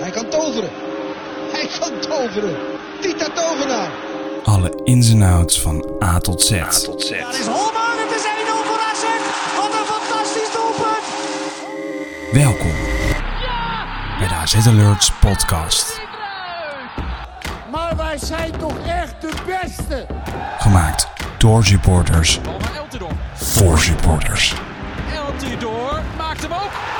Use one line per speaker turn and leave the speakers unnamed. Hij kan toveren. Hij kan toveren. Tita Tovenaar.
Alle ins en outs van A tot Z.
Het is Holman, het is 1-0 voor AZ. Wat een fantastisch doelpunt.
Welkom bij de AZ Alerts podcast.
Maar wij zijn toch echt de beste.
Gemaakt door supporters
Bal naar Eltidoor.
voor supporters.
Eltidoor maakt hem ook.